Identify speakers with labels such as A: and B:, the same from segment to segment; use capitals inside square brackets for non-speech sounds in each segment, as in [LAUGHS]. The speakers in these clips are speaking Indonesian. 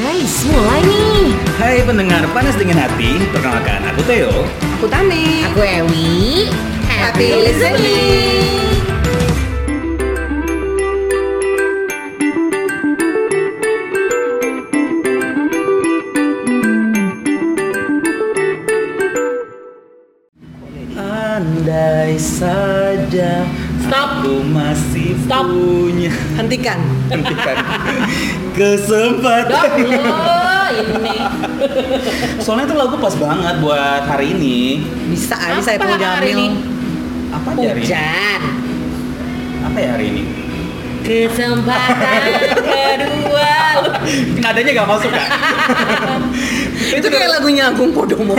A: Guys, mulai nih.
B: Hai pendengar panas dingin hati, perkenalkan aku Theo.
C: Aku Tami.
A: Aku Ewi.
C: Happy listening.
B: Andai saja
C: Stop.
B: aku masih
C: Stop.
B: [LAUGHS] punya
C: Hentikan.
B: hentikan kesempatan.
A: Oh, ini.
B: Soalnya itu lagu pas banget buat hari ini.
C: Bisa aja saya
A: Apa
C: punya
A: hari
C: jamil. Iya,
A: ini?
B: Apa ya hari ini?
A: Hujan.
B: Apa ya hari ini?
A: Kesempatan kedua.
B: Nadanya gak masuk [LAUGHS] kan?
C: Itu kayak lagunya Agung
A: [LAUGHS]
C: Podomo.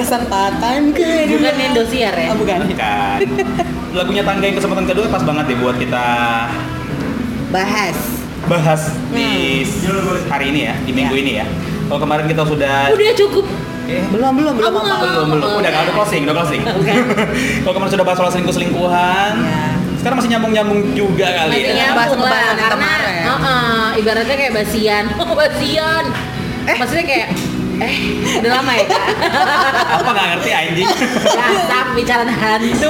C: Kesempatan kedua.
A: Bukan Indosiar ya?
C: Ah, bukan.
B: Bukan. Lagunya tangga yang kesempatan kedua pas banget deh buat kita
C: Bahas.
B: bahas di hari ini ya, di minggu
C: Ya.
B: ini Hmm. ya. Kalau kemarin kita sudah
A: Udah cukup.
B: Eh,
C: Belum belum belum
A: Aku
C: apa.
A: nggak-
B: belum belum udah kan udah closing udah
C: [LAUGHS]
B: closing
A: Bukan.
B: kalau kemarin sudah bahas soal selingkuh selingkuhan
C: Ya.
B: sekarang masih nyambung nyambung juga kali ya
A: Masih
C: Iya.
A: nyambung lah,
C: Bahas-bahasan yang
A: karena
C: kemarin. ya.
A: uh-uh, ibaratnya kayak basian. [LAUGHS] Oh, basian.
C: Eh.
A: Maksudnya kayak eh udah lama
C: [LAUGHS]
A: ya kak?
B: apa nggak ngerti anjing
A: Dasar bicara hantu.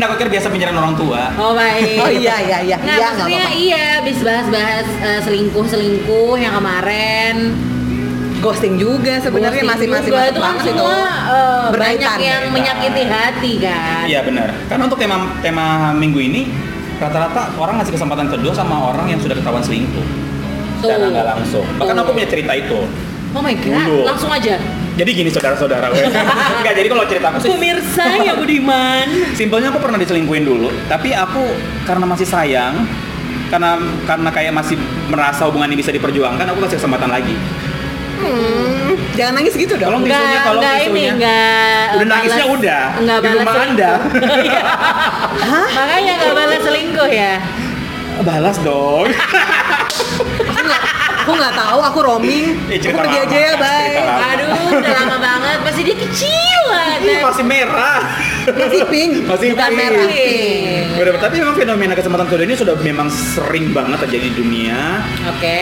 B: nah aku kira biasa bicara orang tua
A: Oh baik.
C: Oh iya iya iya.
A: Nggak,
C: Iya nggak
A: maksudnya
C: apa-apa.
A: iya, bis bahas-bahas eh, selingkuh-selingkuh yang kemarin
C: Ghosting juga sebenarnya
A: Ghosting
C: masih-masih
A: juga,
C: masuk
A: itu kan
C: banget itu.
A: semua eh, banyak
C: Berkaitan, ya,
A: yang
B: berkaitan.
A: menyakiti hati kan
B: iya benar karena untuk tema tema minggu ini rata-rata orang ngasih kesempatan kedua sama orang yang sudah ketahuan selingkuh
A: Tuh.
B: secara nggak langsung bahkan
A: Tuh.
B: aku punya cerita itu
A: oh my god
B: Dulu.
A: langsung aja
B: jadi gini saudara-saudara
A: [LAUGHS]
B: gue nggak jadi kalau cerita aku sih
A: pemirsa ya budiman
B: Simpelnya aku pernah diselingkuhin dulu, tapi aku karena masih sayang, karena karena kayak masih merasa hubungan ini bisa diperjuangkan, aku kasih kesempatan lagi.
C: Hmm, Jangan nangis gitu dong.
B: Tolong di-
A: Enggak,
B: tolong
A: enggak ini,
B: tisunya.
A: enggak
C: Eh,
B: Udah nangisnya udah
A: Enggak
B: di rumah anda.
A: Makanya enggak balas selingkuh ya
B: [LAUGHS] Balas
C: [LAUGHS]
B: dong.
C: Aku nggak aku nggak tahu, aku roaming.
B: [LAUGHS] Eh,
C: Aku
B: cerita
C: pergi
B: lama,
C: aja ya,
B: cerita
C: bye.
B: lama.
A: Aduh, udah lama banget Masih dia kecil
B: Ih,
A: banget
B: masih merah.
C: Masih pink,
B: Masih
C: bukan
B: pink.
C: merah.
A: Pink.
B: Bener, tapi memang fenomena kesempatan kedua ini sudah memang sering banget terjadi di dunia.
A: Oke,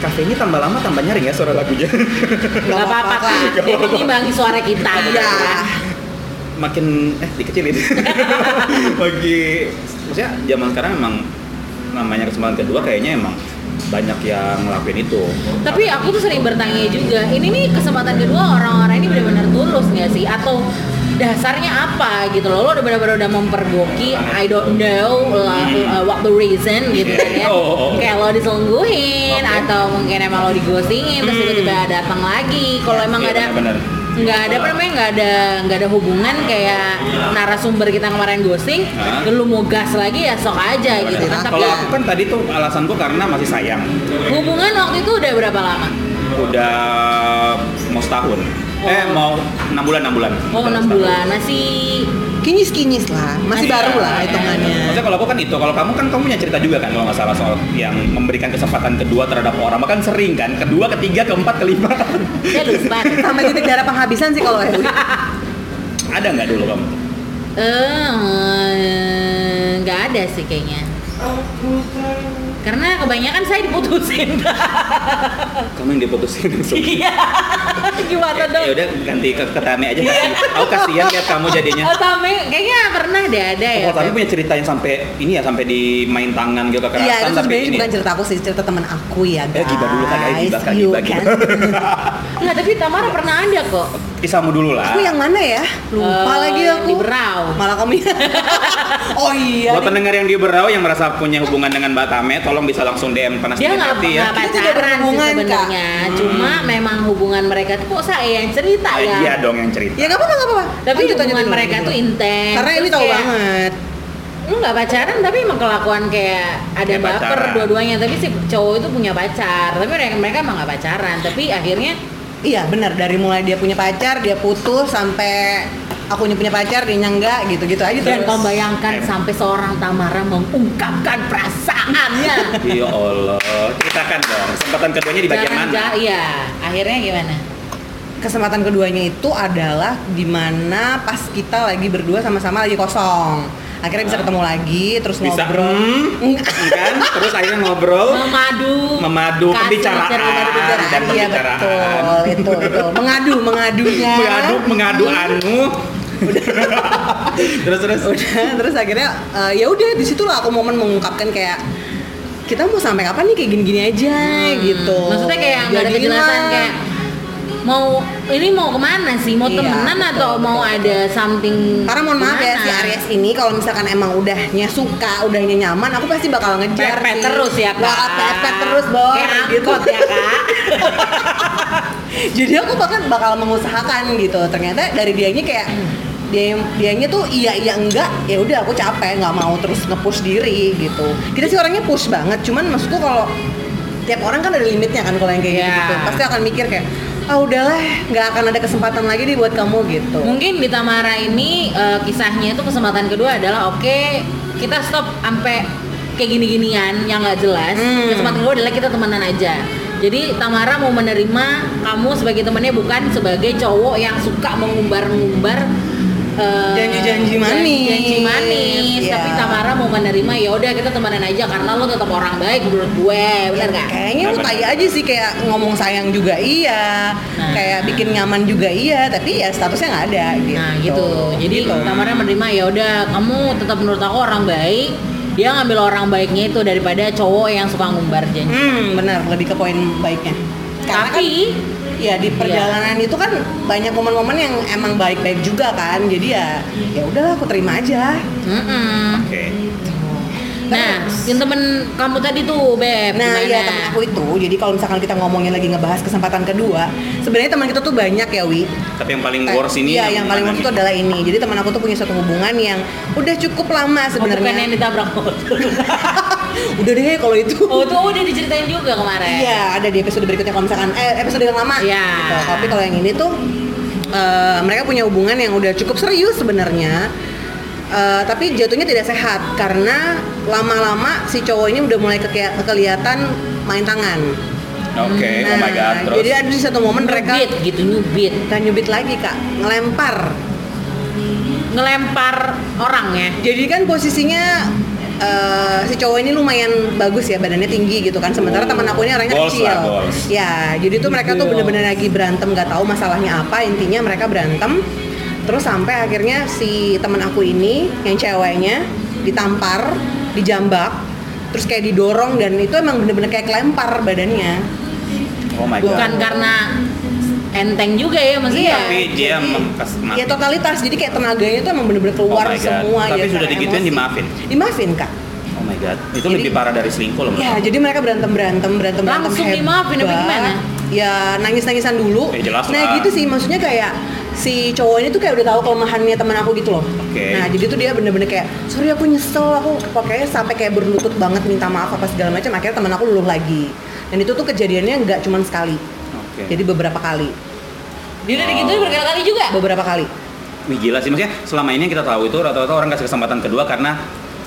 B: Kafe ini tambah lama tambah nyaring ya suara lagunya. [LAUGHS]
A: enggak apa-apa
C: apa-apa,
A: kan
B: nggak
A: Itu
B: apa-apa.
A: ngimbangi suara kita
C: Iya.
B: Makin eh dikecilin.
A: [LAUGHS]
B: Bagi maksudnya zaman sekarang memang namanya kesempatan kedua kayaknya emang banyak yang ngelakuin itu.
A: Tapi aku tuh sering bertanya juga, ini nih kesempatan kedua orang-orang ini benar-benar tulus nggak sih? Atau dasarnya apa gitu loh? Lo udah benar-benar udah mempergoki, I don't know lah,
B: Hmm.
A: uh, what the reason gitu kan
B: [LAUGHS]
A: ya.
B: Oh, oh, oh.
A: Kayak lo diselingkuhin
B: Oke.
A: atau mungkin emang lo digosingin terus
B: Hmm.
A: tiba-tiba datang lagi. Kalau emang
B: Iya,
A: nggak ada
B: benar-benar.
A: nggak ada apa namanya nggak ada nggak ada hubungan kayak narasumber kita kemarin ghosting,
B: Hah?
A: lu mau gas lagi ya sok aja gitu kan. Tapi
B: Kalau aku kan tadi tuh alasan gua karena masih sayang.
A: hubungan waktu itu udah berapa lama?
B: Udah mau setahun. Eh
A: Oh.
B: mau enam bulan enam bulan.
A: Oh
B: Udah
A: enam
B: setahun.
A: bulan masih
C: Kinyis-kinyis lah, masih
A: Iya.
C: baru lah hitungannya.
B: Maksudnya kalau aku kan itu, kalau kamu kan kamu punya cerita juga kan kalau nggak salah soal yang memberikan kesempatan kedua terhadap orang, bahkan sering kan, kedua, ketiga, keempat, kelima,
A: saya
C: [LAUGHS]
A: lupa deh.
C: Sampai titik darah penghabisan sih kalau Ewi.
B: ada nggak dulu kamu?
A: eh nggak ada sih kayaknya karena kebanyakan saya diputusin [LAUGHS]
B: Kamu yang diputusin langsung.
A: iya gimana
B: Ya
A: dong
B: udah ganti ke, ke Tame aja.
C: Iya.
B: Aku kasihan lihat kamu jadinya.
A: Oh, Tame, kayaknya pernah deh ada ya.
B: Iya. Oh, Tame punya cerita yang sampai ini ya sampai di main tangan gitu kekerasan
C: Iya, itu
B: tapi
C: sebenarnya
B: ini.
C: bukan cerita aku sih, cerita teman aku ya,
B: Eh,
C: guys.
B: gibah dulu kan, eh, gibah kan,
C: You
B: gibah, [LAUGHS]
C: can.
B: gibah.
A: Nggak, tapi Tamara pernah ada kok.
B: Kisahmu dulu lah.
C: Aku yang mana ya? Lupa
A: Eh,
C: lagi aku.
A: Di Berau.
C: Malah kamu. ya. oh iya.
B: Buat
C: di-
B: pendengar yang di Berau yang merasa punya hubungan dengan Mbak Tame, tolong bisa langsung DM panas
A: Dia
B: dingin
A: nggak
B: hati ya.
A: nggak
C: Kita tidak
A: pacaran sih
C: berhubungan, Kak.
A: sebenarnya.
B: Hmm.
A: Cuma memang hubungan mereka tuh kok saya yang cerita
B: Ah,
A: ya.
B: Dia dong yang cerita.
C: Ya nggak apa-apa, nggak apa-apa.
A: Tapi
C: Lanjut, lanjut,
A: hubungan
C: lanjut,
A: mereka
C: lanjut.
A: tuh intens.
C: gitu. Karena ini
A: Terus
C: tahu
A: kayak-
C: banget.
A: lu nggak pacaran tapi emang kelakuan kayak ada
B: Kayak
A: baper
B: pacaran.
A: dua-duanya tapi si cowok itu punya pacar tapi mereka mereka emang nggak pacaran tapi akhirnya
C: Iya benar dari mulai dia punya pacar, dia putus sampai aku punya pacar, dia enggak gitu-gitu aja
A: dan
C: terus.
A: kau bayangkan sampai seorang Tamara mengungkapkan perasaannya
B: Ya Allah, ceritakan dong. Kesempatan keduanya di bagian mana?
A: ja- iya akhirnya gimana
C: kesempatan keduanya itu adalah dimana pas kita lagi berdua sama-sama lagi kosong akhirnya bisa ketemu lagi terus
B: bisa
C: ngobrol
B: hmm, kan terus akhirnya ngobrol
A: memadu
B: Oh. memadu
A: kasih
B: pembicaraan,
A: cerita-cerita.
B: dan
C: iya
B: pembicaraan.
C: betul itu itu mengadu mengadunya
B: [LAUGHS] mengadu mengadu anu [LAUGHS] terus terus
C: udah [LAUGHS] terus akhirnya eh, ya udah disitulah aku momen mengungkapkan kayak kita mau sampai kapan nih kayak gini-gini aja
A: Hmm.
C: gitu
A: maksudnya kayak nggak ada
C: Jadilah.
A: kejelasan kayak mau ini mau kemana sih mau
C: Iya,
A: temenan
C: betul,
A: atau mau ada something
C: karena mohon maaf ya
A: gimana?
C: si Aries ini kalau misalkan emang udahnya suka, udahnya nyaman, aku pasti bakal ngejar
A: Pepet
C: sih.
A: terus ya kak
C: Bakal pepet terus bor
A: kayak
C: gitu.
A: angkot ya kak
C: [LAUGHS] Jadi aku bahkan bakal mengusahakan gitu. Ternyata dari dianya kayak dia dianya tuh iya iya enggak ya udah aku capek nggak mau terus ngepush diri gitu kita sih orangnya push banget cuman maksudku kalau tiap orang kan ada limitnya kan kalau yang kayak
A: Iya.
C: gitu pasti akan mikir kayak ah udahlah nggak akan ada kesempatan lagi nih buat kamu gitu
A: mungkin di Tamara ini eh, kisahnya itu kesempatan kedua adalah oke kita stop sampai kayak gini-ginian yang nggak jelas
C: Hmm.
A: kesempatan kedua adalah kita temenan aja jadi Tamara mau menerima kamu sebagai temannya bukan sebagai cowok yang suka mengumbar-ngumbar eh,
C: Janji-janji manis.
A: janji manis
C: Iya.
A: tapi Tamara mau menerima ya udah kita temenan aja karena lo tetap orang baik menurut gue bener nggak
C: Kayaknya lu
B: Bener.
C: tai aja sih kayak ngomong sayang juga iya,
A: Nah.
C: kayak bikin nyaman juga iya, tapi ya statusnya nggak ada gitu.
A: Nah gitu. Jadi
C: Gitu.
A: Tamara menerima ya udah kamu tetap menurut aku orang baik. Dia ngambil orang baiknya itu daripada cowok yang suka ngumbar janji.
C: Hmm, benar lebih ke poin baiknya. Karena kan,
A: Tapi Iya.
C: ya di perjalanan itu kan banyak momen-momen yang emang baik-baik juga kan. Jadi ya ya udahlah aku terima aja.
A: mm-mm.
B: oke
A: Nah, yang temen kamu tadi tuh, Beb.
C: Nah,
A: gimana?
C: iya teman aku itu. Jadi kalau misalkan kita ngomongin lagi ngebahas kesempatan kedua, sebenarnya teman kita tuh banyak ya, Wi.
B: tapi yang paling
C: Iya,
B: worst ini
C: Iya, yang paling worst itu adalah ini. Jadi teman aku tuh punya satu hubungan yang udah cukup lama
A: Oh, bukan yang
C: sebenarnya.
A: ditabrak motor.
C: [LAUGHS] udah deh kalau itu.
A: Oh, itu udah diceritain juga kemarin.
C: Iya, ada di episode berikutnya kalau misalkan eh episode yang lama.
A: Iya.
C: Gitu. Tapi kalau yang ini tuh eh, mereka punya hubungan yang udah cukup serius sebenarnya. Eh, tapi jatuhnya tidak sehat karena lama-lama si cowok ini udah mulai keke- kelihatan main tangan.
B: oke oh my god terus
C: Nah, Jadi ada di satu momen mereka
A: Nyubit gitu, nyubit.
C: dan nyubit lagi kak, ngelempar.
A: Ngelempar orang ya.
C: Jadi kan posisinya eh, si cowok ini lumayan bagus ya badannya tinggi gitu kan sementara
B: Oh.
C: teman aku ini orangnya
B: Goals
C: kecil
B: lah, goals. Gitu.
C: ya jadi tuh mereka tuh
A: Goals.
C: bener-bener lagi berantem nggak tahu masalahnya apa intinya mereka berantem terus sampai akhirnya si teman aku ini yang ceweknya ditampar dijambak terus kayak didorong dan itu emang bener-bener kayak kelempar badannya
B: oh my god
A: Bukan
C: Iya.
A: karena enteng juga ya maksudnya.
B: Tapi dia
C: jadi-
B: mengkas
C: ya totalitas jadi kayak tenaganya tuh emang bener-bener keluar
B: Oh my God.
C: semua
B: Tapi
C: ya,
B: sudah
C: secara
B: digituin
C: emosi.
B: dimaafin?
C: dimaafin kak
B: oh my god itu
C: Jadi-
B: lebih parah dari selingkuh loh
C: Ya,
B: menurut
C: jadi mereka berantem berantem berantem berantem
A: Langsung dimaafin apa gimana?
C: Ya nangis nangisan dulu.
B: Ya, jelas
C: nah
B: lah.
C: gitu sih maksudnya kayak si cowok ini tuh kayak udah tahu kelemahannya teman aku gitu loh.
B: Oke.
C: Nah jadi tuh dia bener-bener kayak sorry aku nyesel aku pokoknya sampai kayak berlutut banget minta maaf apa segala macam akhirnya teman aku luluh lagi. Dan itu tuh kejadiannya nggak cuman sekali,
B: aku. oke
C: jadi beberapa kali,
A: Dia udah digituin berkali-kali juga.
C: beberapa kali.
B: Wih gila sih maksudnya selama ini yang kita tahu itu rata-rata orang kasih kesempatan kedua karena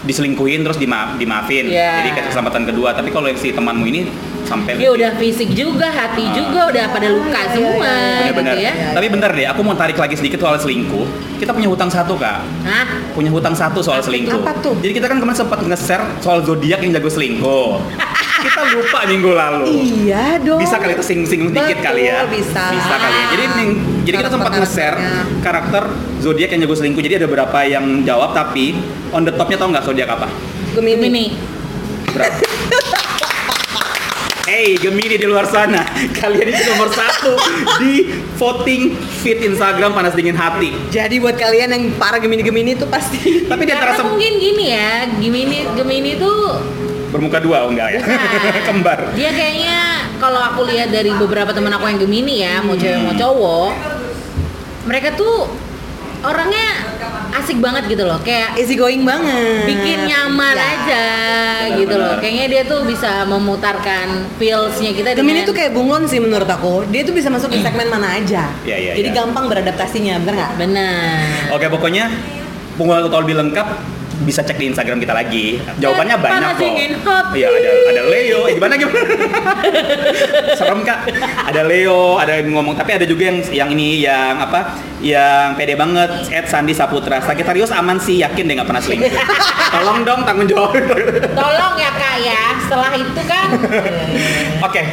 B: diselingkuhin terus dima dimaafin.
A: Iya.
B: Jadi kasih kesempatan kedua. Tapi kalau yang si temanmu ini sampai
A: dia udah fisik juga, hati
B: Ah.
A: juga udah pada luka
C: Iya,
A: semua
C: iya, iya.
A: gitu
B: benar.
A: ya.
C: Iya.
B: Tapi bentar deh, aku mau tarik lagi sedikit soal selingkuh. Kita punya hutang satu, Kak.
A: Hah?
B: Punya hutang satu soal selingkuh.
C: Apa tuh?
B: Jadi kita kan kemarin sempat nge-share soal zodiak yang jago
C: [LAUGHS]
B: selingkuh. kita lupa minggu lalu.
C: Iya dong.
B: Bisa kali itu singgung dikit
C: Betul,
B: kali ya.
C: Bisa.
B: Bisa kali ya. Jadi nih, jadi kita sempat nge-share
C: Karakter-karakternya.
B: karakter zodiak yang jago selingkuh. Jadi ada berapa yang jawab tapi on the topnya tau nggak zodiak apa?
A: Ini
C: Gemini.
A: nih.
C: [LAUGHS]
B: Berapa? Hey Gemini di luar sana, kalian itu nomor satu di voting feed Instagram panas dingin hati.
C: Jadi buat kalian yang para gemini-gemini itu
B: [LAUGHS]
C: pasti
B: Tapi di antara sem-
A: Karena mungkin gini ya, Gemini Gemini tuh
B: bermuka dua oh enggak ya,
C: Iya.
A: Bukan.
B: [LAUGHS] kembar.
A: dia kayaknya kalau aku lihat dari beberapa teman aku yang Gemini ya, mau cewek mau cowok, mereka tuh orangnya asik banget gitu loh, kayak
C: easy going banget.
A: bikin nyaman
C: Ya.
A: aja gitu loh.
B: benar.
A: Kayaknya dia tuh bisa memutarkan feelsnya kita
C: Gemini
A: dengan-
C: tuh kayak bunglon sih menurut aku. Dia tuh bisa masuk di segmen mana aja.
B: Iya, iya,
C: Jadi
B: iya.
C: gampang beradaptasinya, bener nggak?
A: benar.
B: Oke pokoknya pengulang total lebih lengkap bisa cek di Instagram kita lagi. Jawabannya
A: Dan
B: banyak
A: panas
B: kok.
A: dingin hati. [LAUGHS]
B: Iya ada ada Leo, eh, gimana gimana? serem kak ada Leo ada yang ngomong tapi ada juga yang yang ini yang apa yang pede banget Ed Sandi Saputra Sagitarius aman sih yakin dia nggak pernah seling
A: [LAUGHS]
B: tolong dong tanggung jawab oke
A: Tolong ya kak ya, setelah itu kan.
B: [LAUGHS]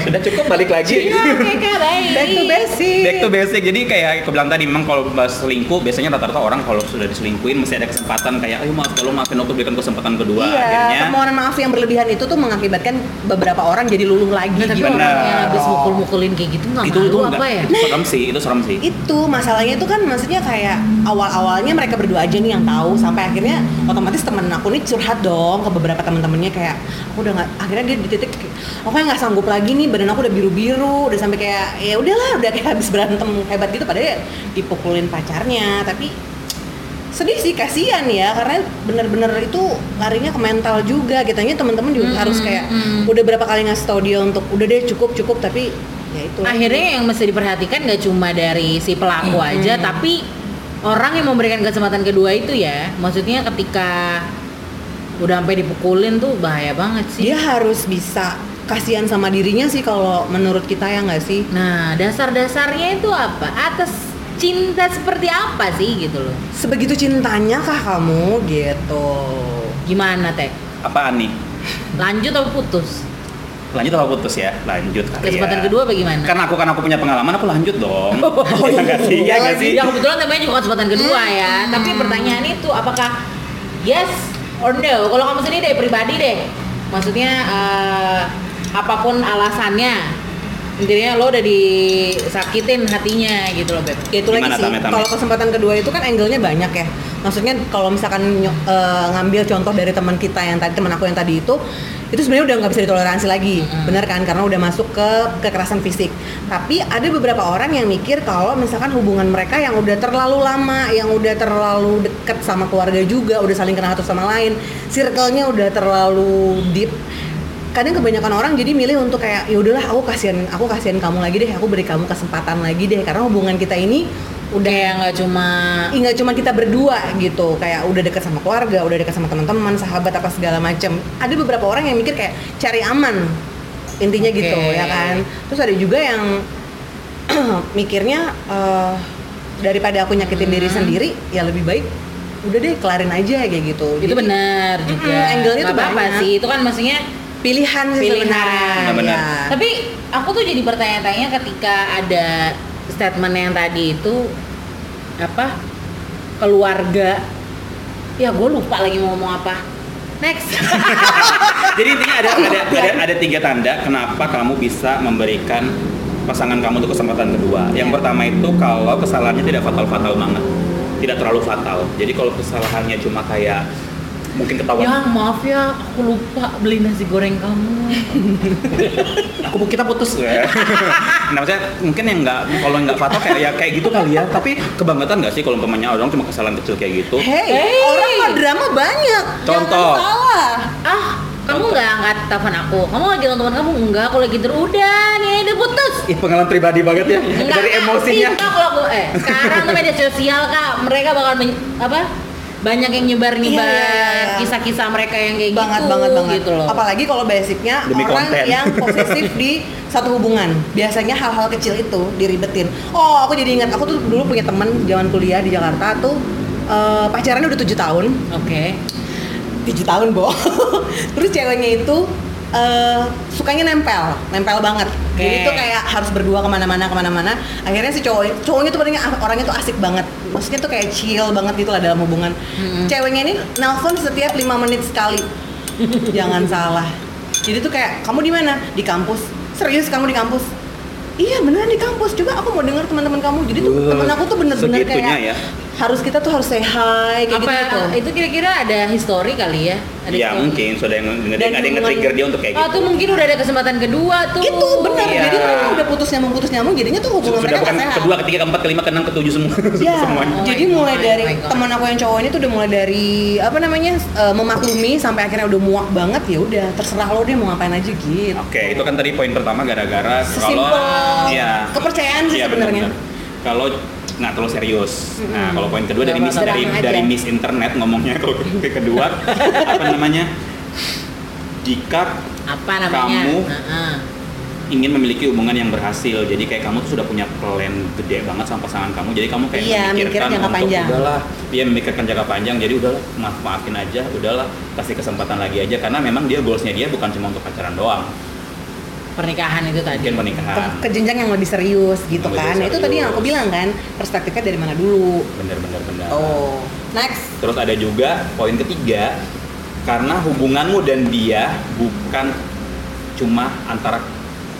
B: sudah cukup balik lagi
A: Iya, oke kak, baik.
C: Back to basic.
B: Back to basic. Jadi kayak aku bilang tadi memang kalau bahas selingkuh biasanya rata-rata orang kalau sudah diselingkuhin mesti ada kesempatan kayak ayo maaf kalau maafin aku berikan kesempatan kedua. Akhirnya
C: Iya, permohonan maaf yang berlebihan itu tuh mengakibatkan beberapa orang jadi luluh lagi
A: Nah, tapi
C: gitu.
A: orang yang
B: Benar.
A: habis mukul-mukulin kayak gitu nggak
B: itu itu
A: malu
B: enggak
A: apa ya?
B: serem sih, itu serem sih.
C: Itu masalahnya itu kan maksudnya kayak awal-awalnya mereka berdua aja nih yang tahu sampai akhirnya otomatis temen aku nih curhat dong ke beberapa temen-temennya kayak aku udah nggak akhirnya dia di titik kayak, aku kayak nggak sanggup lagi nih badan aku udah biru-biru udah sampai kayak ya udahlah udah kayak habis berantem hebat gitu padahal ya dipukulin pacarnya tapi sedih sih kasihan ya karena bener-bener itu larinya ke mental juga kitanya teman-teman juga
A: Hmm,
C: harus kayak
A: hmm.
C: udah berapa kali ngasih tau dia untuk udah deh cukup cukup tapi ya itu
A: Akhirnya yang mesti diperhatikan nggak cuma dari si pelaku
B: Hmm.
A: aja, tapi orang yang memberikan kesempatan kedua itu ya, maksudnya ketika udah sampai dipukulin tuh bahaya banget sih.
B: Iya.
C: dia harus bisa kasihan sama dirinya sih kalau menurut kita ya nggak sih
A: Nah, dasar-dasarnya itu apa? Atas cinta seperti apa sih gitu loh?
C: sebegitu cintanya kah kamu gitu
A: Gimana teh?
B: Apaan nih?
A: Lanjut atau putus?
B: Iya. Lanjut apa putus ya? Lanjut kali
A: Kesempatan
B: ya.
A: kedua bagaimana?
B: Karena aku kan aku punya pengalaman, aku lanjut dong. [LAUGHS] Iya nggak sih? Iya nggak sih?
A: Ya kebetulan temanya juga kesempatan kedua
C: Hmm.
A: ya. Tapi pertanyaan itu apakah yes or no? Kalau kamu sendiri deh pribadi deh. Maksudnya eh, apapun alasannya intinya lo udah disakitin hatinya gitu loh beb.
C: ya itu
B: Gimana,
C: lagi sih
B: Tame, Tame?
C: kalau kesempatan kedua itu kan angle-nya banyak ya maksudnya kalau misalkan nyo- eh, ngambil contoh dari teman kita yang tadi teman aku yang tadi itu itu sebenarnya udah nggak bisa ditoleransi lagi
A: Mm-mm.
C: bener kan karena udah masuk ke kekerasan fisik tapi ada beberapa orang yang mikir kalau misalkan hubungan mereka yang udah terlalu lama yang udah terlalu deket sama keluarga juga udah saling kenal satu sama lain circle-nya udah terlalu deep kadang kebanyakan orang jadi milih untuk kayak ya udahlah aku kasihan aku kasihan kamu lagi deh aku beri kamu kesempatan lagi deh karena hubungan kita ini
A: Udah ya nggak cuma
C: nggak cuma kita berdua gitu kayak udah dekat sama keluarga udah dekat sama teman-teman sahabat apa segala macam ada beberapa orang yang mikir kayak cari aman intinya
A: Oke.
C: gitu ya kan terus ada juga yang [CLEARS THROAT] mikirnya eh, daripada aku nyakitin diri
A: Hmm.
C: sendiri ya lebih baik udah deh kelarin aja kayak gitu Jadi,
A: itu benar juga.
C: Mm-mm, angle-nya
A: Nggak
C: tuh
A: apa-apa
C: banyak.
A: sih. Itu kan maksudnya
C: pilihan sih
A: Pilihan.
C: sebenarnya
B: Benar-benar.
C: ya.
A: Tapi aku tuh jadi bertanya-tanya ketika ada statement yang tadi itu apa keluarga ya gue lupa lagi mau ngomong apa next
B: Jadi intinya ada ada ada ada tiga tanda kenapa kamu bisa memberikan pasangan kamu untuk kesempatan kedua. Yang pertama itu kalau kesalahannya tidak fatal-fatal banget, tidak terlalu fatal. Jadi kalau kesalahannya cuma kayak mungkin ketahuan,
A: yang maaf ya aku lupa beli nasi goreng kamu
B: aku kita putus [LAUGHS] ya. nah maksudnya mungkin yang nggak kalau nggak fatal kayak ya kayak gitu kali ya. Tapi kebangetan nggak sih kalau umpamanya orang cuma kesalahan kecil kayak gitu.
C: Hey,
A: Hey.
C: orang mah drama banyak.
B: Contoh.
C: Jangan salah.
A: ah kamu nggak angkat telepon aku kamu lagi nonton kamu enggak aku lagi tidur udah nih udah putus
B: Ih, pengalaman pribadi banget ya
A: Nggak
B: dari
A: aktif,
B: emosinya.
A: Nah, Kak, kalau aku- eh sekarang tuh media sosial kak mereka bakal men- apa banyak yang nyebar nyebar
C: Iya, iya, iya.
A: kisah-kisah mereka yang kayak
C: banget
A: gitu
C: banget banget
A: gitu loh
C: apalagi kalau basicnya
B: Demi
C: orang
B: konten.
C: yang posesif di satu hubungan biasanya hal-hal kecil itu diribetin oh aku jadi ingat aku tuh dulu punya teman zaman kuliah di Jakarta tuh eh, pacarannya udah tujuh tahun
A: oke
C: 7 tahun, Bo. [LAUGHS] Terus ceweknya itu eh, sukanya nempel, nempel banget. Jadi
A: Oke.
C: itu kayak harus berdua kemana-mana, kemana-mana. Akhirnya si cowok, cowoknya tuh paling orangnya tuh asik banget. Maksudnya tuh kayak chill banget gitu lah dalam hubungan.
A: Mm-mm.
C: Ceweknya ini nelpon setiap lima menit
A: [LAUGHS]
C: sekali. Jangan salah. Jadi tuh kayak kamu di mana? Di kampus. Serius kamu di kampus? Iya beneran di kampus. Coba aku mau dengar teman-teman kamu. Jadi tuh
B: Wah,
C: teman aku tuh bener-bener
B: segitunya
C: kayak
B: ya.
C: harus kita tuh harus say hi kayak
A: apa
C: gitu.
A: itu kira-kira ada histori kali ya ada
B: Ya
A: histori.
B: mungkin sudah yang ada
C: Dan
B: yang nge-trigger dia untuk kayak
A: oh
B: gitu.
A: tuh mungkin udah ada kesempatan kedua tuh
C: gitu benar
B: Iya.
C: jadi mereka udah putus nyambung putus nyambung jadinya tuh hubungan
B: sudah
C: mereka
B: bukan
C: nggak sehat
B: kedua, ketiga, keempat, kelima, keenam, ketujuh
C: [LAUGHS]
B: semua.
C: Ya,
B: Semuanya. iya.
A: Oh
C: jadi
A: my God,
C: mulai
A: oh
C: dari
A: my God.
C: teman aku yang cowok ini tuh udah mulai dari apa namanya eh, memaklumi sampai akhirnya udah muak banget ya udah terserah lo deh mau ngapain aja gitu.
B: Oke, itu kan tadi poin pertama gara-gara
C: Sesimpel
B: Iya.
C: kepercayaan sih
B: Iya,
C: sebenarnya.
B: benar-benar. Kalau nggak terlalu serius. Nah, kalau poin kedua dari
C: Nggak
B: miss
C: apa-apa,
B: dari
C: tenang aja.
B: dari miss internet ngomongnya kalau ke ke
C: [LAUGHS]
B: kedua apa namanya? Jika
A: apa namanya
B: Kamu
A: Heeh.
B: ingin memiliki hubungan yang berhasil jadi kayak kamu tuh sudah punya plan gede banget sama pasangan kamu jadi kamu kayak
C: Iya, mikir
B: memikirkan
C: jangka
B: untuk
C: panjang.
B: udahlah dia memikirkan jangka panjang jadi udahlah maaf maafin aja udahlah kasih kesempatan lagi aja karena memang dia goalsnya dia bukan cuma untuk pacaran doang
A: pernikahan itu tadi
B: mungkin pernikahan
C: ke, ke jenjang yang lebih serius gitu
B: Lebih
C: kan. Nah, Itu tadi yang aku
B: serius.
C: bilang kan, perspektifnya dari mana dulu.
B: bener bener bener
C: Oh, next.
B: Terus ada juga poin ketiga, karena hubunganmu dan dia bukan cuma antara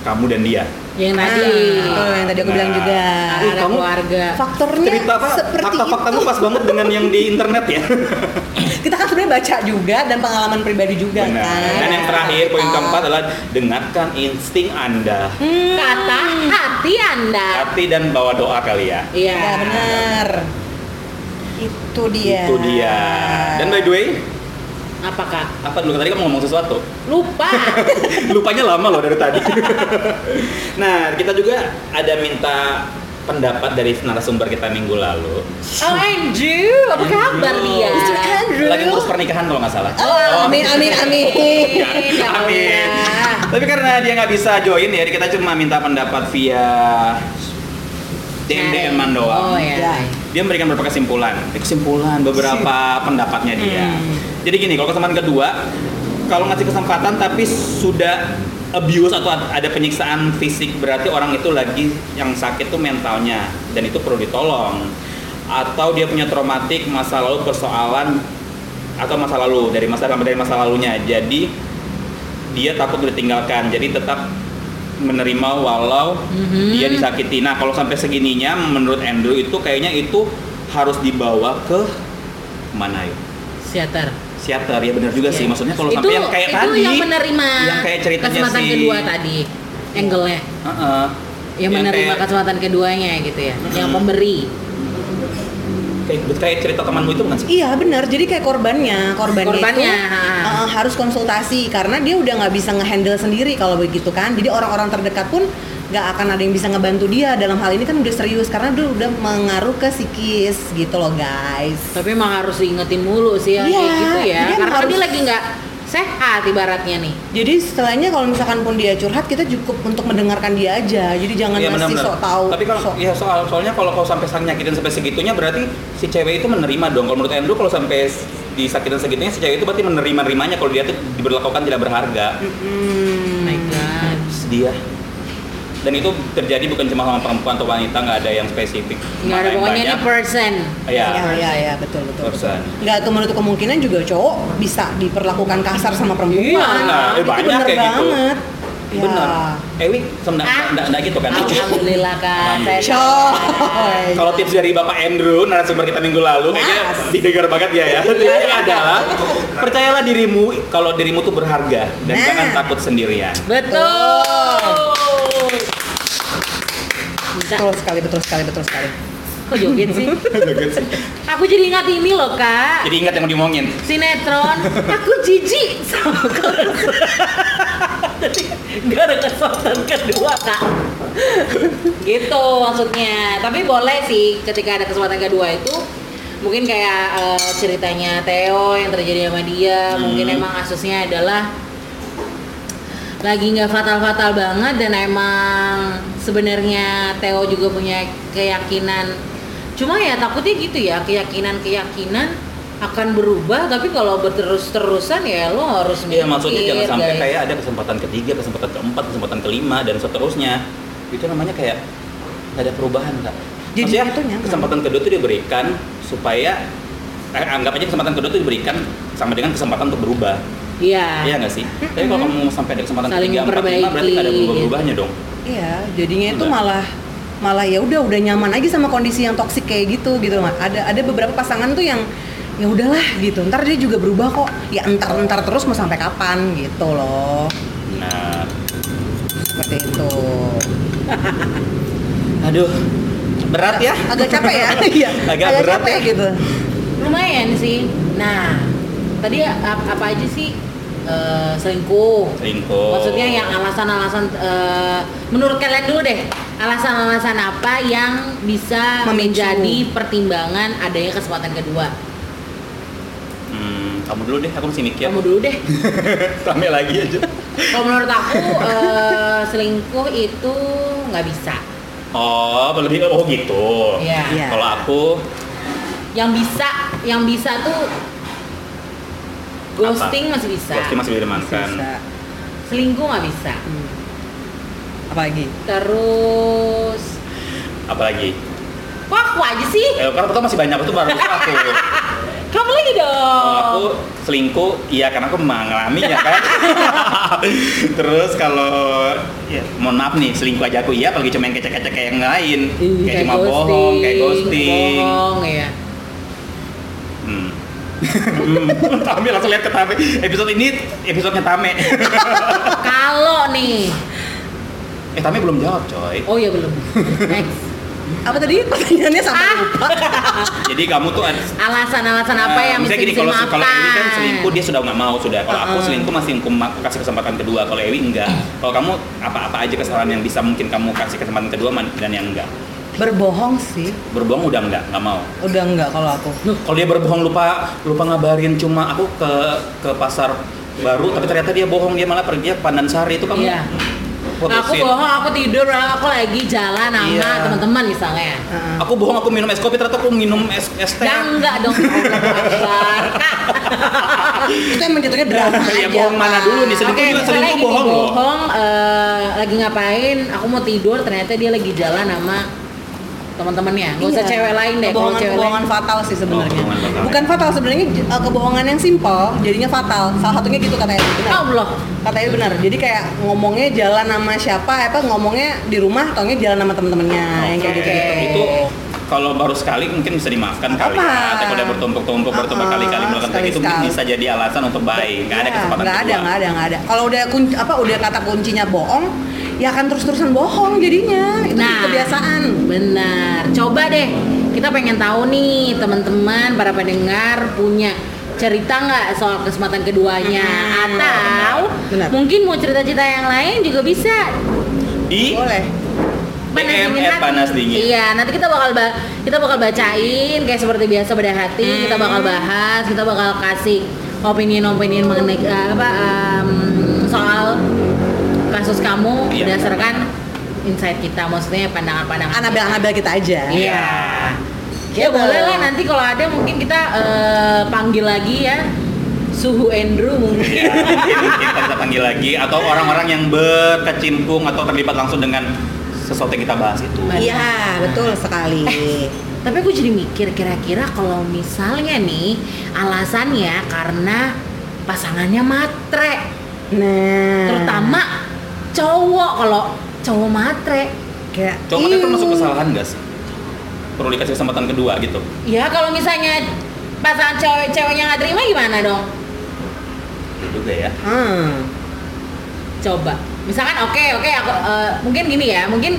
B: kamu dan dia.
A: yang
C: Nah,
A: tadi
C: betul, yang tadi aku bilang
B: Nah.
C: juga.
A: Ada
C: Ih, kamu
A: keluarga
C: faktornya
B: Cerita apa?
C: seperti
B: Fakta-faktamu
C: itu.
B: pas banget dengan yang di internet ya.
C: Kita kan sebenarnya baca juga dan pengalaman pribadi juga
B: Benar.
C: kan.
B: Dan yang terakhir poin
C: Kita.
B: keempat adalah dengarkan insting Anda,
C: Hmm.
A: kata hati anda
B: hati dan bawa doa kali ya.
A: iya
C: Ya, benar. Itu dia.
B: Itu dia. Dan by the way,
A: apa kak
B: apa dulu tadi kamu ngomong sesuatu? [LAUGHS]
C: [LAUGHS]
A: lupa
B: Lupanya lama loh dari tadi. [LAUGHS] nah, kita juga ada minta pendapat dari narasumber kita minggu lalu.
A: oh Andrew apa kabar dia
C: Mr. Andrew.
B: Lagi ngurus pernikahan kalau nggak salah.
C: Oh, amin amin
B: [LAUGHS]
C: amin.
A: Amin.
B: Amin.
A: Ya.
B: Tapi karena dia nggak bisa join ya, kita cuma minta pendapat via DM DM -an
C: ya.
B: doang.
A: oh iya
B: Dia memberikan beberapa kesimpulan. Eh, Kesimpulan beberapa pendapatnya dia. Jadi gini, kalau kesempatan kedua, kalau ngasih kesempatan tapi sudah abuse atau ad- ada penyiksaan fisik berarti orang itu lagi yang sakit tuh mentalnya dan itu perlu ditolong. Atau dia punya traumatik masa lalu persoalan atau masa lalu dari masa dari masa lalunya. Jadi dia takut ditinggalkan. Jadi tetap menerima walau
A: Mhm.
B: dia disakiti. Nah, kalau sampai segininya menurut Andrew itu kayaknya itu harus dibawa ke mana ya?
A: Siater.
B: Siater ya benar juga
C: Iya.
B: sih. Maksudnya kalau sampai yang kayak
A: Iya. itu
B: tadi
A: yang menerima
B: yang kayak ceritanya
A: kesempatan
B: si-
A: kedua tadi angle-nya
B: Heeh.
A: yang, menerima
B: kayak, Hmm.
A: kesempatan keduanya gitu ya yang
B: Mm-mm.
A: pemberi
B: kayak, kayak cerita temanmu itu bukan sih?
C: Iya benar, jadi kayak korbannya, korbannya,
A: Korbannya,
C: itu
A: ha.
C: uh, harus konsultasi karena dia udah nggak bisa ngehandle sendiri kalau begitu kan. Jadi orang-orang terdekat pun nggak akan ada yang bisa ngebantu dia dalam hal ini kan udah serius karena dia udah mengaruh ke psikis gitu loh guys.
A: tapi emang harus diingetin mulu sih yang
C: Iya,
A: kayak gitu ya
C: jadi
A: karena
C: harus-
A: dia lagi nggak sehat ibaratnya nih
C: Jadi setelahnya kalau misalkan pun dia curhat kita cukup untuk mendengarkan dia aja. Jadi jangan
B: Iya,
C: ngasih
B: benar-benar.
C: sok tahu.
B: Tapi kalau
C: sok-
B: ya soal soalnya kalau kau sampai sang nyakitin sampai segitunya berarti si cewek itu menerima dong. Kalau menurut Andrew kalau sampai s- disakitin segitunya si cewek itu berarti menerima nerimanya kalau dia tuh diberlakukan tidak berharga.
C: Hmm.
A: oh my god
B: Sedih ya. Dan itu terjadi bukan cuma sama perempuan atau wanita, nggak ada yang spesifik.
A: nggak ada
B: Makanya
A: pokoknya ini
B: banyak-
A: person
B: Iya.
C: Ya, ya, ya, betul, betul. betul.
B: Persen.
C: Nggak tuh menutup kemungkinan juga cowok bisa diperlakukan kasar sama perempuan.
A: Iya,
B: nah, eh,
C: Itu
B: banyak
C: bener
B: kayak gitu.
C: banget. Ya.
B: Bener. Ewi, sebenarnya
A: Ah.
B: enggak, enggak gitu kan?
A: alhamdulillah kak
C: Eh,
B: Alhamdulillah.
C: Coy.
B: Kalau tips dari Bapak Andrew, narasumber kita minggu lalu, kayaknya
C: Mas. Iya,
B: didengar banget ya ya. Tipsnya adalah percayalah dirimu kalau dirimu tuh berharga dan
C: Nah.
B: jangan takut sendirian.
A: betul bisa
C: Betul sekali, betul sekali, betul sekali.
A: kok joget sih aku jadi ingat ini loh kak
B: Jadi ingat yang diomongin.
A: sinetron aku jijik sama korupsi gak ada kesempatan kedua kak gitu maksudnya tapi boleh sih ketika ada kesempatan kedua itu mungkin kayak eh, ceritanya Theo yang terjadi sama dia
B: Hmm.
A: mungkin emang kasusnya adalah lagi nggak fatal-fatal banget dan emang sebenarnya Theo juga punya keyakinan cuma ya takutnya gitu ya keyakinan-keyakinan akan berubah tapi kalau berterus-terusan ya lo harus
B: Iya, maksudnya
A: mikir,
B: jangan sampai
A: guys.
B: kayak ada kesempatan ketiga, kesempatan keempat, kesempatan kelima dan seterusnya. Itu namanya kayak nggak ada perubahan, Kak.
C: Jadi
B: Maksudnya,
C: itu nyaman.
B: kesempatan kedua itu diberikan supaya eh, anggap aja kesempatan kedua itu diberikan sama dengan kesempatan untuk berubah.
A: iya
B: Iya nggak sih? Tapi kalau kamu sampai ada kesempatan
A: Saling
B: ketiga, empat, lima, berarti nggak ada
A: memperbaiki.
B: berubah-berubahnya dong.
C: Iya, jadinya itu
B: Bener.
C: malah malah ya udah udah nyaman aja sama kondisi yang toksik kayak gitu gitu loh. Ada ada beberapa pasangan tuh yang ya udahlah gitu. Ntar dia juga berubah kok. Ya entar entar terus mau sampai kapan gitu loh.
B: Nah,
C: Seperti itu.
B: aduh, berat ya.
C: Agak capek
B: [LAUGHS]
C: ya. Iya.
B: Agak berat
C: capek
B: ya.
C: gitu.
A: lumayan sih nah tadi ap- apa aja sih Eh, selingkuh
B: Selingkuh.
A: Maksudnya yang alasan-alasan eh, menurut kalian dulu deh, alasan-alasan apa yang bisa
C: Memicu.
A: menjadi pertimbangan adanya kesempatan kedua?
B: Hmm, kamu dulu deh aku masih mikir [LAUGHS]
A: Kamu dulu deh.
B: sampai lagi aja
A: Kalau menurut aku eh, selingkuh itu nggak bisa.
B: oh lebih oh gitu
A: Iya.
C: Iya.
B: kalau aku
A: Yang bisa, yang bisa tuh ghosting masih bisa.
B: ghosting masih diremankan
C: Bisa.
A: Selingkuh nggak bisa.
C: Hmm. Apalagi?
A: Terus
B: apalagi
A: Kok aku aja sih?
B: eh, karena pertama masih banyak itu baru aku
A: Kamu lagi dong.
B: Kalau aku selingkuh, iya karena aku mengalaminya kan. Terus kalau ya, mohon maaf nih selingkuh aja aku iya, apalagi cuma yang kecek-kecek kayak yang lain, kayak, cuma bohong, kayak ghosting.
A: Bohong ya.
B: Hmm. Hmm. [LAUGHS] Tame langsung lihat ke Tame. Episode ini episodenya Tame.
A: Kalau nih,
B: eh Tame belum jawab coy.
A: oh ya belum. Next.
C: Apa tadi pertanyaannya sampai
A: Ah.
C: lupa?
B: Jadi kamu tuh ada
A: Alasan-alasan apa yang
B: bisa
A: mesti
B: Nah, gini kalau
A: dimaafkan?
B: kalau Ewi kan selingkuh dia sudah nggak mau sudah. Kalau aku
C: Uh-uh.
B: selingkuh masih aku ma- kasih kesempatan kedua. Kalau Ewi enggak. Kalau kamu apa-apa aja kesalahan yang bisa mungkin kamu kasih kesempatan kedua man- dan yang enggak.
C: Berbohong sih.
B: berbohong udah enggak nggak mau
C: Udah enggak kalau aku.
B: kalau dia berbohong lupa lupa ngabarin cuma aku ke ke pasar baru tapi ternyata dia bohong dia malah pergi ke Pandansari itu kamu
A: Iya.
C: Nah,
A: Aku
B: putusin.
A: bohong, aku tidur, aku lagi jalan sama
B: Iya.
A: teman-teman misalnya.
C: Heeh.
B: aku bohong aku minum es kopi ternyata aku minum es es teh
A: Ya enggak dong.
B: [LAUGHS]
C: Itu emang jatuhnya drama aja.
B: [LAUGHS] ya bohong mana
C: Pak.
B: dulu nih selingkuh
A: Oke,
B: juga
A: misalnya
B: selingkuh
A: gini,
B: bohong loh
A: bohong eh, lagi ngapain? Aku mau tidur, ternyata dia lagi jalan sama teman-temannya. Gak usah
C: Iya.
A: cewek lain deh. kalau cewek lain.
C: Kebohongan-kebohongan fatal sih sebenarnya.
B: Oh, kebohongan fatal.
C: Bukan fatal sebenarnya eh, kebohongan yang simpel jadinya fatal. Salah satunya gitu katanya. Benar.
A: Ya Allah.
C: Katanya benar. Jadi kayak ngomongnya jalan sama siapa apa ngomongnya di rumah taunya jalan sama temen-temennya yang kayak gitu.
B: Oke. Nah, itu kalau baru sekali mungkin bisa dimaafkan kali
C: Apa?
B: ya. Tapi kalau udah bertumpuk-tumpuk bertumpuk
C: Uh-uh,
B: kali-kali melakukan kayak gitu
C: sekali-sekali.
B: bisa jadi alasan untuk baik. Nggak ada
C: Iya,
B: kesempatan
C: Nggak ada,
B: kedua.
C: nggak ada, nggak ada. Kalau udah kun- apa udah kata kuncinya bohong, ya akan terus-terusan bohong jadinya. Itu
A: Nah.
C: kebiasaan.
A: Benar. Coba deh, kita pengen tahu nih teman-teman para pendengar punya cerita nggak soal kesempatan keduanya
B: Hmm.
A: atau
C: Benar.
A: mungkin mau cerita-cerita yang lain juga bisa
B: Di
C: Boleh.
B: DM
A: dingin
B: at eh,
A: hati.
B: panas dingin.
A: Iya, nanti kita bakal ba- kita bakal bacain kayak seperti biasa beda hati, kita
B: Hmm.
A: bakal bahas, kita bakal kasih opinion-opinion mengenai eh, apa em, soal kasus kamu
B: Iya.
A: berdasarkan insight kita, maksudnya pandangan-pandangan. kita.
C: Anabel-anabel kita aja.
A: Iya.
C: Gitu.
A: Ya boleh lah nanti kalau ada mungkin kita eh, panggil lagi ya suhu Andrew mungkin.
B: Ya, mungkin kita bisa panggil lagi atau orang-orang yang berkecimpung atau terlibat langsung dengan sesuatu yang kita bahas itu.
C: Iya, betul sekali.
A: Tapi aku jadi mikir kira-kira kalau misalnya nih alasannya karena pasangannya matre,
C: Nah,
A: terutama cowok kalau cowok matre.
C: kayak
B: Cowok itu
C: "Iu."
B: termasuk kesalahan gak sih? Perlu dikasih kesempatan kedua gitu.
A: Ya kalau misalnya pasangan cewek-ceweknya nggak terima gimana dong?
B: Iya juga ya.
C: Hmm.
A: coba misalkan oke oke aku eh, mungkin gini ya mungkin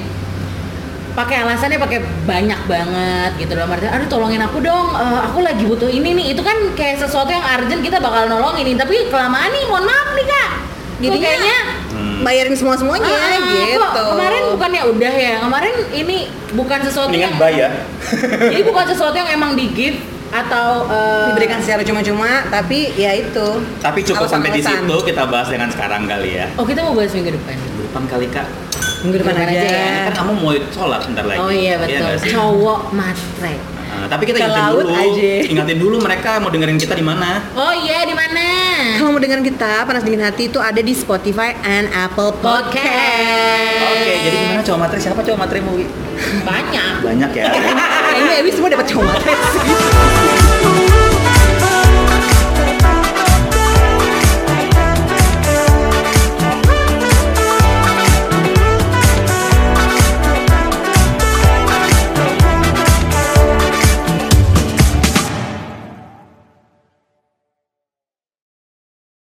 A: pakai alasannya pakai banyak banget gitu dalam artian aduh tolongin aku dong eh, aku lagi butuh ini nih itu kan kayak sesuatu yang urgent kita bakal nolongin nih tapi kelamaan nih mohon maaf nih kak
C: Jadinya-
A: Jadinya, kayaknya
B: Hmm.
C: Bayarin semua-semuanya
A: ah,
C: gitu.
A: kok kemarin bukan ya udah ya kemarin ini bukan sesuatu
B: Mendingan ya.
A: yang
B: bayar.
A: [LAUGHS] jadi bukan sesuatu yang emang di gift atau eh,
C: diberikan secara cuma-cuma, tapi ya itu.
B: Tapi cukup sampai di
C: Alasan-alasan.
B: situ kita bahas dengan sekarang kali ya.
A: oh kita mau bahas minggu depan
B: Depan kali kak.
C: Minggu depan
A: Depan
C: aja.
A: aja ya.
B: Kan kamu mau sholat ntar lagi.
A: oh iya betul
B: nggak sih?
A: cowok matre
B: Nah, tapi kita
C: Ke
B: ingatin
C: laut
B: dulu,
C: aja.
B: ingatin dulu mereka mau dengerin kita di mana.
A: oh iya di mana
C: Kalau mau dengerin kita, panas dingin hati itu ada di Spotify and Apple Podcast.
A: podcast.
B: Oke, jadi gimana cowok materi? Siapa cowok materi mau?
A: banyak.
B: Banyak ya.
C: Kayaknya Ewi semua dapat cuma.